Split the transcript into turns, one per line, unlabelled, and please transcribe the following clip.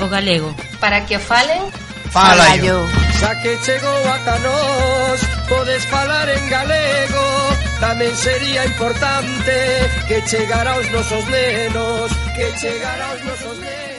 o galego.
Para que o falen,
Falallo.
Xa que chegou ata nós Podes falar en galego Tamén sería importante Que chegara aos nosos nenos Que chegara aos nosos nenos